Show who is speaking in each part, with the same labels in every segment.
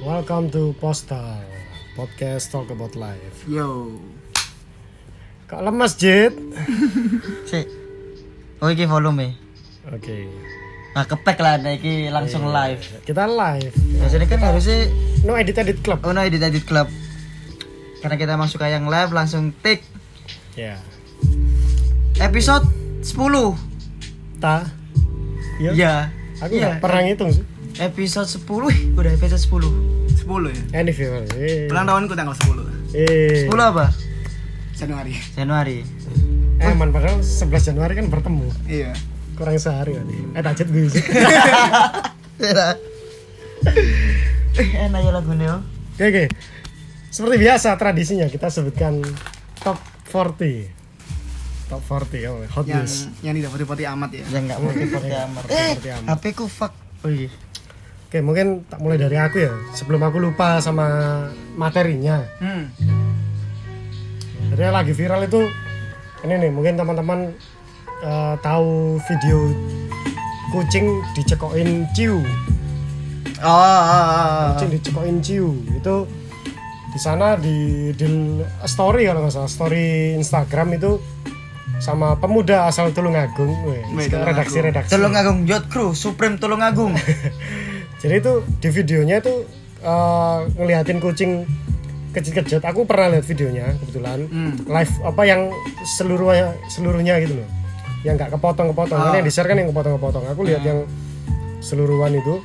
Speaker 1: Welcome to Postal Podcast Talk About Life.
Speaker 2: Yo.
Speaker 1: Kok lemes, Jit?
Speaker 2: Cek. Oh iki volume.
Speaker 1: Oke.
Speaker 2: Nah, kepek lah nah iki langsung live.
Speaker 1: Kita live.
Speaker 2: Biasanya kan harusnya
Speaker 1: No edit edit club.
Speaker 2: ono edit edit club. Karena kita masuk ke yang live langsung take
Speaker 1: Ya.
Speaker 2: episode 10.
Speaker 1: Ta. Yo.
Speaker 2: Iya.
Speaker 1: Aku nggak
Speaker 2: Iya.
Speaker 1: pernah ngitung sih.
Speaker 2: Episode 10. Wih, udah episode 10.
Speaker 3: 10 ya?
Speaker 1: Anyway. Eh.
Speaker 3: Ulang tahunku tanggal 10
Speaker 1: Eh.
Speaker 2: 10 apa?
Speaker 3: Januari.
Speaker 2: Januari.
Speaker 1: Eh, man, padahal 11 Januari kan bertemu.
Speaker 3: Iya.
Speaker 1: Kurang sehari tadi. Eh, tajat gue sih.
Speaker 2: eh, enak ya lagu Neo.
Speaker 1: Oke, oke. Seperti biasa tradisinya kita sebutkan top 40. Top 40 oh, hot
Speaker 3: Yang
Speaker 1: news.
Speaker 3: yang tidak poti-poti amat ya.
Speaker 2: Ya enggak mungkin seperti amat. Eh,
Speaker 1: Seperti amat.
Speaker 2: HP ku fuck. Oh iya.
Speaker 1: Oke, mungkin tak mulai dari aku ya. Sebelum aku lupa sama materinya.
Speaker 3: Hmm.
Speaker 1: Jadi yang lagi viral itu ini nih, mungkin teman-teman eh, tahu video kucing dicekokin ciu.
Speaker 2: Oh, oh, oh, oh.
Speaker 1: Kucing dicekokin ciu. Itu di sana di, di story kalau nggak salah, story Instagram itu sama pemuda asal Tulungagung, weh,
Speaker 3: Weh, Tulungagung.
Speaker 1: redaksi-redaksi.
Speaker 2: Tulungagung Yacht Crew, Supreme Tulungagung.
Speaker 1: jadi itu di videonya itu eh, ngeliatin kucing kejut-kejut aku pernah lihat videonya kebetulan live apa yang seluruh seluruhnya gitu loh yang nggak kepotong-kepotong Kan yang di share kan yang kepotong-kepotong aku lihat yang seluruhan itu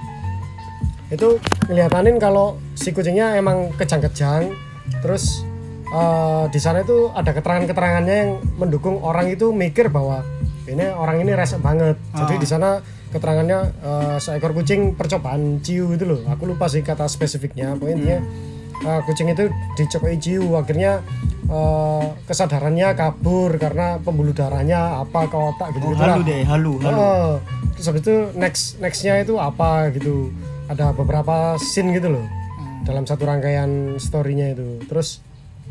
Speaker 1: itu ngeliatanin kalau si kucingnya emang kejang-kejang terus eh, di sana itu ada keterangan-keterangannya yang mendukung orang itu mikir bahwa ini orang ini resek banget jadi di sana keterangannya eh, seekor kucing percobaan ciu itu loh aku lupa sih kata spesifiknya pokoknya intinya eh, kucing itu dicekoi ciu akhirnya eh, kesadarannya kabur karena pembuluh darahnya apa ke otak gitu
Speaker 2: Oh, halu deh, halu, halu.
Speaker 1: Oh, terus habis itu next nextnya itu apa gitu ada beberapa scene gitu loh dalam satu rangkaian storynya itu terus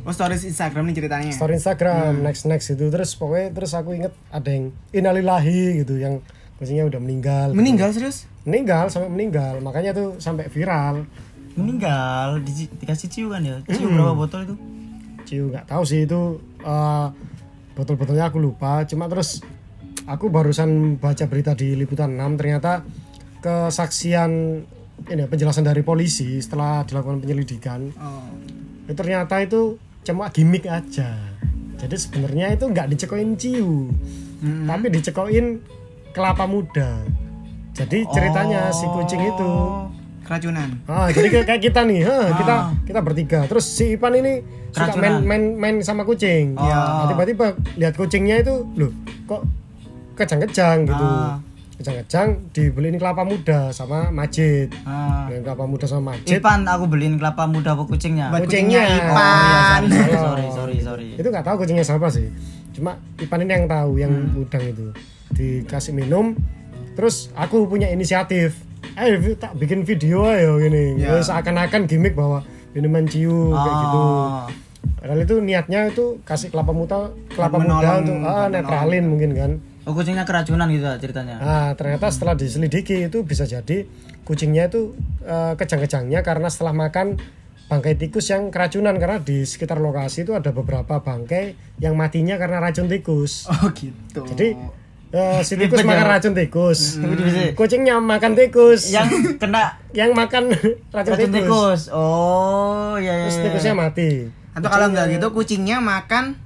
Speaker 3: Oh, stories Instagram nih ceritanya.
Speaker 1: story Instagram next next itu terus pokoknya terus aku inget ada yang inalilahi gitu yang kucingnya udah meninggal
Speaker 3: Meninggal serius?
Speaker 1: meninggal sampai meninggal makanya tuh sampai viral
Speaker 2: meninggal di, dikasih ciu kan ya ciu berapa botol itu
Speaker 1: Ciu nggak tahu sih itu eh, botol-botolnya aku lupa. Cuma terus aku barusan baca berita di liputan 6 ternyata kesaksian ini penjelasan dari polisi setelah dilakukan penyelidikan
Speaker 3: Oh.
Speaker 1: itu ternyata itu cuma gimmick aja. Jadi sebenarnya itu nggak dicekoin ciu, tapi dicekoin kelapa muda. Jadi ceritanya si kucing itu
Speaker 3: Keracunan.
Speaker 1: Ah, jadi kayak- kayak kita nih, heh, kita kita bertiga. Terus si Ipan ini suka main
Speaker 2: Keracunan.
Speaker 1: main main sama kucing.
Speaker 2: Iya.
Speaker 1: Nah, tiba-tiba lihat kucingnya itu, loh, kok kejang-kejang gitu.
Speaker 2: Ah.
Speaker 1: Kejang-kejang dibeliin kelapa muda sama Majid.
Speaker 2: Ah.
Speaker 1: Beliin kelapa muda sama Majid.
Speaker 2: Ipan aku beliin kelapa muda buat kucingnya Oh, iya,
Speaker 3: Buat
Speaker 1: kucingnya Oh, iya,
Speaker 3: Ipan.
Speaker 2: sorry sorry sorry sorry
Speaker 1: Itu nggak tahu kucingnya siapa sih. Cuma Ipan ini yang tahu yang
Speaker 3: Hmm.
Speaker 1: udang itu. Dikasih minum. Terus aku punya inisiatif. Eh, vi- tak bikin video ayo gini.
Speaker 3: Ya.
Speaker 1: Terus Seakan-akan gimmick bahwa minuman ciu kayak gitu.
Speaker 2: Ah.
Speaker 1: Padahal itu niatnya itu kasih kelapa muda, kelapa
Speaker 3: Menolong,
Speaker 1: muda untuk ah,
Speaker 3: menolong.
Speaker 1: netralin mungkin kan.
Speaker 2: oh kucingnya keracunan gitu lah ceritanya
Speaker 1: Nah, ternyata setelah diselidiki itu bisa jadi kucingnya itu eh, kejang-kejangnya karena setelah makan bangkai tikus yang keracunan karena di sekitar lokasi itu ada beberapa bangkai yang matinya karena racun tikus.
Speaker 3: Oh, gitu.
Speaker 1: Jadi eh, si tikus
Speaker 2: Ribet ya.
Speaker 1: makan racun Hmm. tikus.
Speaker 2: Ribet.
Speaker 1: Kucingnya makan tikus.
Speaker 2: yang kena
Speaker 1: yang makan racun,
Speaker 2: racun
Speaker 1: tikus.
Speaker 2: tikus oh ya
Speaker 1: Terus
Speaker 2: ya
Speaker 1: tikusnya mati.
Speaker 3: atau kalau enggak gitu kucingnya makan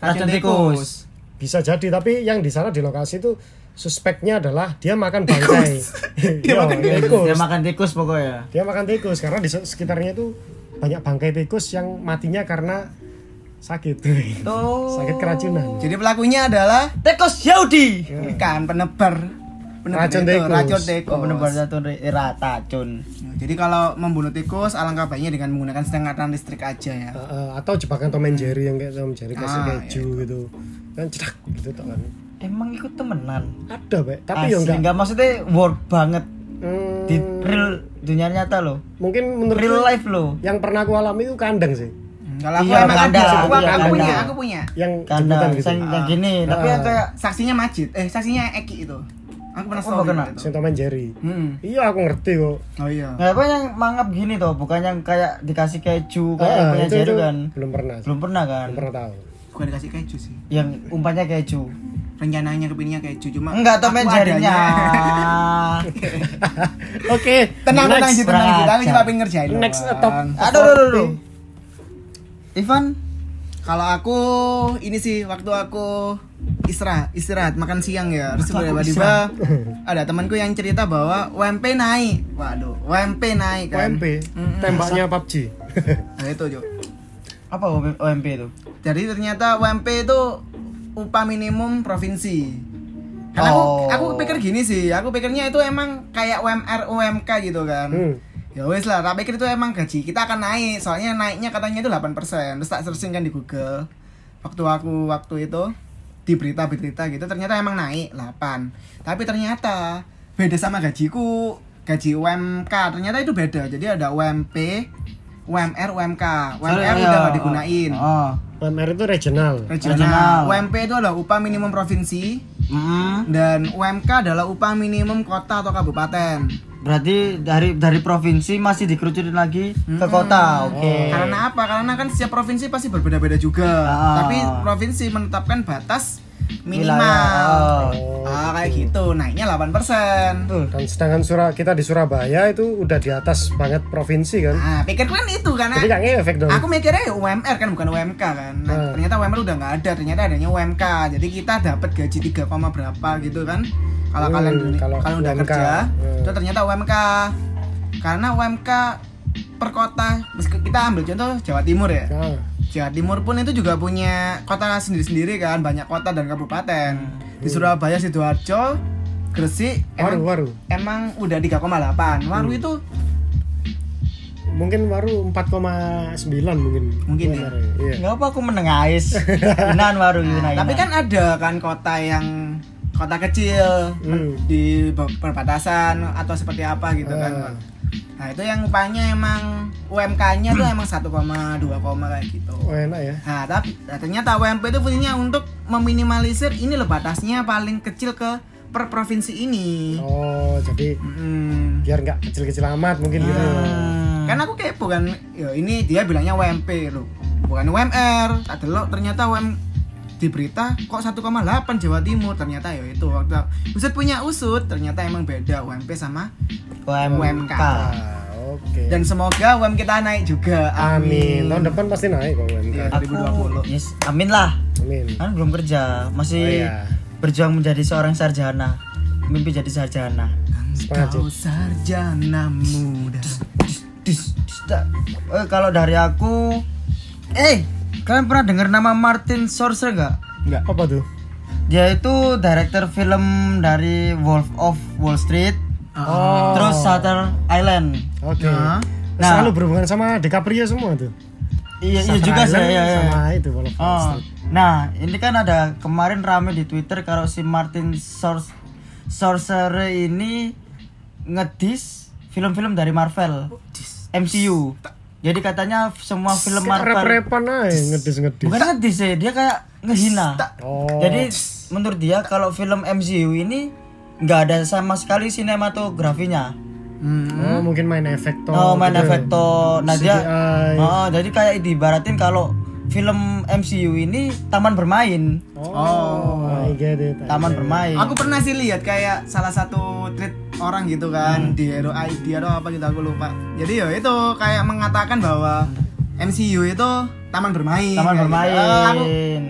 Speaker 2: racun tikus
Speaker 1: bisa jadi tapi yang di sana di lokasi itu suspeknya adalah dia makan bangkai dia, makan tikus
Speaker 2: dia Iya, makan tikus pokoknya
Speaker 1: dia makan tikus karena di se- sekitarnya itu banyak bangkai tikus yang matinya karena sakit
Speaker 2: Oh.
Speaker 1: sakit keracunan
Speaker 3: Jadi pelakunya adalah
Speaker 2: tikus Yahudi
Speaker 3: ikan penebar.
Speaker 1: Racun
Speaker 3: itu,
Speaker 1: tikus.
Speaker 3: Racun tikus.
Speaker 2: oh bener-bener racun era racun
Speaker 3: Nah, Jadi kalau membunuh tikus alangkah baiknya dengan menggunakan sengatan listrik aja ya.
Speaker 1: Eh, eh, atau jebakan Tom and Jerry yang kayak Tom and Jerry kasih
Speaker 3: Ah,
Speaker 1: keju gitu kan cedak gitu tau kan
Speaker 2: emang ikut temenan
Speaker 1: ada Pak. tapi ya
Speaker 2: Asli,
Speaker 1: enggak
Speaker 2: enggak maksudnya work banget
Speaker 1: Hmm,
Speaker 2: di real dunia nyata loh
Speaker 1: mungkin menurut
Speaker 2: real life loh
Speaker 1: yang pernah aku alami itu kandang sih
Speaker 3: Hmm, Kalau aku
Speaker 2: Iya,
Speaker 3: emang
Speaker 2: ada,
Speaker 3: ada, aku,
Speaker 2: iya,
Speaker 3: aku
Speaker 2: ada.
Speaker 3: punya, aku punya.
Speaker 1: yang jebutan
Speaker 2: kandang
Speaker 1: gitu
Speaker 2: Iya.
Speaker 3: Ah.
Speaker 2: yang, yang gini tapi yang kayak
Speaker 3: Saksinya Majid, eh saksinya Eki itu. Aku pernah
Speaker 2: Aku
Speaker 3: story
Speaker 2: nggak
Speaker 3: gitu.
Speaker 1: Sing Tom and Jerry.
Speaker 3: Hmm.
Speaker 1: Iya aku ngerti kok.
Speaker 3: Oh iya.
Speaker 2: Nah, apa yang mangap gini toh, bukan yang kayak dikasih keju
Speaker 1: Ah,
Speaker 2: kayak yang punya
Speaker 1: itu-
Speaker 2: Jerry
Speaker 1: itu
Speaker 2: kan.
Speaker 1: Belum pernah. sih.
Speaker 2: Belum pernah kan?
Speaker 1: Belum pernah tahu.
Speaker 3: Gua dikasih keju sih.
Speaker 2: Yang umpannya keju.
Speaker 3: Rencananya kepinginnya keju cuma
Speaker 2: Enggak Tom and
Speaker 3: aku
Speaker 2: Jerry-nya.
Speaker 3: adanya.
Speaker 1: Oke.
Speaker 3: Tenang,
Speaker 1: next.
Speaker 3: tenang, Ji, tenang, Ji. Aku cuma
Speaker 2: Raja.
Speaker 3: pengen ngerjain.
Speaker 1: Next
Speaker 3: doang.
Speaker 1: top.
Speaker 2: aduh, aduh, aduh, aduh. Ivan,
Speaker 3: Kalau aku ini sih waktu aku istirahat, istirahat makan siang ya. Terus
Speaker 2: Waktu aku
Speaker 3: tiba-tiba ada temanku yang cerita bahwa WMP naik. Waduh, WMP naik kan.
Speaker 1: UMP.
Speaker 3: Mm-mm.
Speaker 1: Tembaknya PUBG.
Speaker 3: Nah, itu, Cuk.
Speaker 2: apa OMP itu?
Speaker 3: Jadi ternyata WMP itu upah minimum provinsi. Karena aku,
Speaker 2: Oh.
Speaker 3: aku pikir gini sih, aku pikirnya itu emang kayak UMR UMK gitu kan.
Speaker 1: Hmm.
Speaker 3: Ya wes lah, tak pikir itu emang gaji kita akan naik. Soalnya naiknya katanya itu 8%. Terus tak searching kan di Google. Waktu aku waktu itu di berita-berita gitu ternyata emang naik 8. Tapi ternyata beda sama gajiku, gaji UMK. Ternyata itu beda. Jadi ada UMP, UMR, UMK. UMR
Speaker 2: Soalnya- ya.
Speaker 3: udah gak digunain.
Speaker 2: iya. Oh.
Speaker 1: UMR itu regional.
Speaker 2: Regional.
Speaker 3: Regional. UMP itu adalah upah minimum provinsi
Speaker 2: Mm,
Speaker 3: dan UMK adalah upah minimum kota atau kabupaten.
Speaker 2: berarti dari dari provinsi masih dikerucutin lagi ke kota. Oke.
Speaker 3: Karena apa? Karena kan setiap provinsi pasti berbeda-beda juga.
Speaker 2: Ah.
Speaker 3: Tapi provinsi menetapkan batas minimal.
Speaker 1: Oh.
Speaker 2: Wilayah.
Speaker 3: Ah, kayak gitu. Naiknya 8%.
Speaker 2: Tuh.
Speaker 1: Dan sedangkan Surah kita di Surabaya itu udah di atas banget provinsi kan.
Speaker 3: Nah, pikirku kan itu karena
Speaker 1: Jadi nggak ngefek dong.
Speaker 3: aku mikirnya ya UMR kan bukan UMK kan. Nah,
Speaker 1: Ah.
Speaker 3: ternyata UMR udah nggak ada. Ternyata adanya UMK. Jadi kita dapat gaji 3, koma berapa gitu kan. Kalau
Speaker 1: Hmm,
Speaker 3: kalian dulu-
Speaker 1: kalau
Speaker 3: kalian udah
Speaker 1: UMK.
Speaker 3: kerja,
Speaker 1: Hmm.
Speaker 3: itu ternyata UMK. Karena UMK per kota, kita ambil contoh Jawa Timur ya.
Speaker 1: Ah,
Speaker 3: Jawa Timur pun itu juga punya kota sendiri-sendiri kan, banyak kota dan kabupaten. Di
Speaker 1: Hmm.
Speaker 3: Surabaya, Sidoarjo, Gresik
Speaker 1: waru
Speaker 3: emang,
Speaker 1: waru.
Speaker 3: emang udah 3,8. Waru
Speaker 1: Hmm.
Speaker 3: itu
Speaker 1: Mungkin waru 4,9 mungkin.
Speaker 3: Mungkin ya.
Speaker 1: UMR -nya. Iya.
Speaker 2: Enggak apa aku menengais. Yunan baru
Speaker 1: Nah,
Speaker 2: Yunan.
Speaker 3: tapi kan ada kan kota yang kota kecil
Speaker 1: Hmm.
Speaker 3: di be- perbatasan atau seperti apa gitu kan.
Speaker 1: Ah.
Speaker 3: Nah, itu yang upahnya emang UMK-nya tuh emang 1,2 koma kayak gitu.
Speaker 1: Oh enak ya.
Speaker 3: Nah, tapi nah, ternyata WMP itu fungsinya untuk meminimalisir ini loh batasnya paling kecil ke per provinsi ini.
Speaker 1: Oh jadi
Speaker 3: Mm.
Speaker 1: biar nggak kecil-kecil amat mungkin gitu.
Speaker 2: Hmm.
Speaker 3: Kan aku kepo kan, ya ini dia bilangnya WMP loh. Bukan UMR. Tak delok ternyata UM di berita kok 1,8 Jawa Timur ternyata ya itu waktu usut punya usut ternyata emang beda UMP sama
Speaker 2: UMK.
Speaker 1: Ah,
Speaker 2: Iya.
Speaker 1: Oke.
Speaker 3: dan semoga UM kita naik juga
Speaker 1: Amin.
Speaker 3: amin,
Speaker 1: Tahun depan pasti naik kok UMK.
Speaker 3: Iya.
Speaker 2: Aku,
Speaker 3: 2020.
Speaker 2: yes, amin lah.
Speaker 1: Amin.
Speaker 2: Kan belum kerja, masih
Speaker 1: Oh, iya.
Speaker 2: berjuang menjadi seorang sarjana. Mimpi jadi sarjana.
Speaker 1: Semangat,
Speaker 3: kau sarjana muda
Speaker 2: Dis- dis- dis- da- Eh, kalau dari aku, eh kalian pernah dengar nama Martin Sorcer nggak?
Speaker 1: Enggak. Apa tuh?
Speaker 2: Dia itu director film dari Wolf of Wall Street,
Speaker 1: Oh.
Speaker 2: terus Shutter Island.
Speaker 1: Oke.
Speaker 3: Nah.
Speaker 2: Nah.
Speaker 1: Selalu berhubungan sama DiCaprio semua tuh.
Speaker 2: Iya, iya
Speaker 1: Shutter
Speaker 2: juga sih.
Speaker 1: Island
Speaker 2: iya, iya.
Speaker 1: Sama itu Wolf of Wall
Speaker 2: Oh.
Speaker 1: Street.
Speaker 2: Nah, ini kan ada kemarin rame di Twitter kalau si Martin Sors Sorcerer ini ngedis film-film dari Marvel. MCU. Jadi katanya semua film Marvel
Speaker 1: Rep-repan aja ngedis-ngedis.
Speaker 2: bukan ngedis sih, dia kayak ngehina.
Speaker 1: Oh.
Speaker 2: Jadi menurut dia kalau film MCU ini nggak ada sama sekali sinematografinya.
Speaker 3: Hmm.
Speaker 1: Oh, mungkin main efek toh.
Speaker 2: Oh, main
Speaker 1: gitu.
Speaker 2: efek toh. Nah, dia
Speaker 1: CGI.
Speaker 2: Oh, jadi kayak dibaratin kalau film MCU ini taman bermain.
Speaker 1: Oh, I get it.
Speaker 2: taman bermain.
Speaker 3: Aku pernah sih lihat kayak salah satu tweet orang gitu kan di Hero ID atau apa gitu aku lupa. Jadi ya itu kayak mengatakan bahwa MCU itu taman bermain.
Speaker 2: Taman
Speaker 3: kayak
Speaker 2: bermain.
Speaker 3: gitu. Ah, aku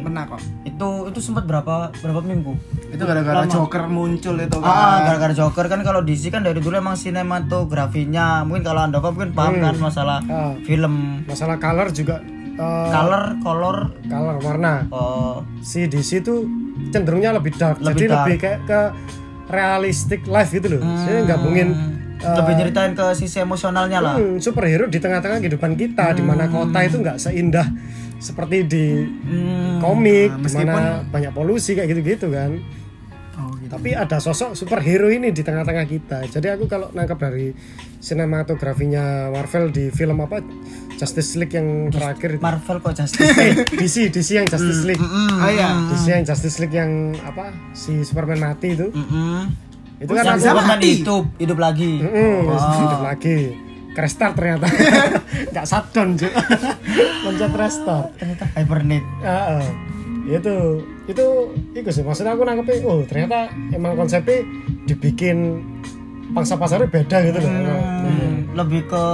Speaker 3: pernah kok.
Speaker 2: Iya, Anu, itu itu sempat berapa berapa minggu?
Speaker 3: Itu gara-gara
Speaker 2: Lama.
Speaker 3: Joker muncul itu kan.
Speaker 2: Ah, gara-gara Joker kan kalau DC kan dari dulu emang sinematografinya. Mungkin kalau Anda paham, mungkin paham kan masalah
Speaker 1: Ah.
Speaker 2: film
Speaker 1: Masalah color juga eh,
Speaker 2: color, color
Speaker 1: color warna.
Speaker 2: eh,
Speaker 1: Si DC itu cenderungnya lebih dark.
Speaker 2: Lebih
Speaker 1: jadi
Speaker 2: dark.
Speaker 1: lebih kayak ke realistic life gitu loh. Jadi
Speaker 2: Hmm.
Speaker 1: gabungin eh,
Speaker 2: lebih nyeritain ke sisi emosionalnya lah.
Speaker 1: hmm, superhero di tengah-tengah kehidupan kita di mana kota itu nggak seindah seperti di
Speaker 2: Hmm,
Speaker 1: komik, di
Speaker 3: meskipun-
Speaker 1: mana banyak polusi kayak gitu-gitu kan.
Speaker 3: Oh gitu.
Speaker 1: Tapi ada sosok superhero ini di tengah-tengah kita. Jadi aku kalau nangkap dari sinematografinya Marvel di film apa Justice League yang terakhir itu.
Speaker 2: Marvel kok Justice League.
Speaker 1: Eh, DC DC yang Justice League.
Speaker 2: Mm,
Speaker 3: Ah, iya.
Speaker 1: DC yang Justice League yang apa si Superman mati itu.
Speaker 2: mm, mm.
Speaker 1: Itu kan
Speaker 2: yang
Speaker 1: aku-
Speaker 3: siapa?
Speaker 2: sebelumnya
Speaker 3: Mati.
Speaker 2: hidup hidup lagi
Speaker 1: Mm-mm,
Speaker 2: Oh.
Speaker 1: hidup lagi. Restart ternyata. Enggak shutdown, Cuk. Loncat restart.
Speaker 2: ternyata hibernate
Speaker 1: Heeh. Ya itu itu itu sih maksudnya aku nangkepnya oh ternyata emang konsepnya dibikin pangsa pasarnya beda gitu loh
Speaker 2: Hmm, lebih ke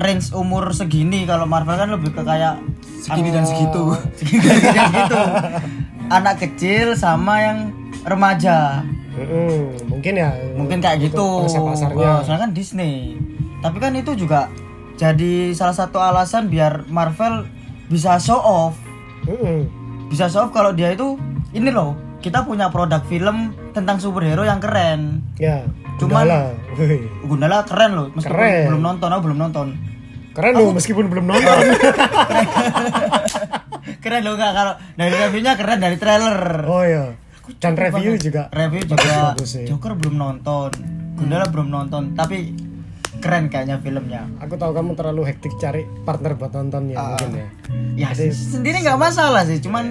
Speaker 2: range umur segini kalau Marvel kan lebih ke kayak anu,
Speaker 3: Segini dan segitu.
Speaker 2: segini dan segitu gitu. anak kecil sama yang remaja
Speaker 1: Mm-mm, mungkin ya
Speaker 2: mungkin kayak gitu
Speaker 1: pangsa pasarnya
Speaker 2: Wah, soalnya kan Disney tapi kan itu juga jadi salah satu alasan biar Marvel bisa show off
Speaker 1: Mm-mm.
Speaker 2: bisa show off kalau dia itu ini loh kita punya produk film tentang superhero yang keren
Speaker 1: ya
Speaker 2: Cuman-
Speaker 1: Gundala. Wih.
Speaker 2: Gundala keren loh meskipun
Speaker 1: Keren.
Speaker 2: belum nonton aku belum nonton
Speaker 1: keren loh meskipun belum nonton
Speaker 2: keren loh nggak kalau dari reviewnya keren dari trailer
Speaker 1: oh ya dan review juga
Speaker 2: review juga
Speaker 1: Bagus sih.
Speaker 2: Joker belum nonton Gundala belum nonton tapi keren kayaknya filmnya
Speaker 1: aku tahu kamu terlalu hektik cari partner buat nonton
Speaker 2: Ah.
Speaker 1: ya mungkin ya
Speaker 2: ya sih, sendiri nggak masalah sih
Speaker 1: Iya,
Speaker 2: cuman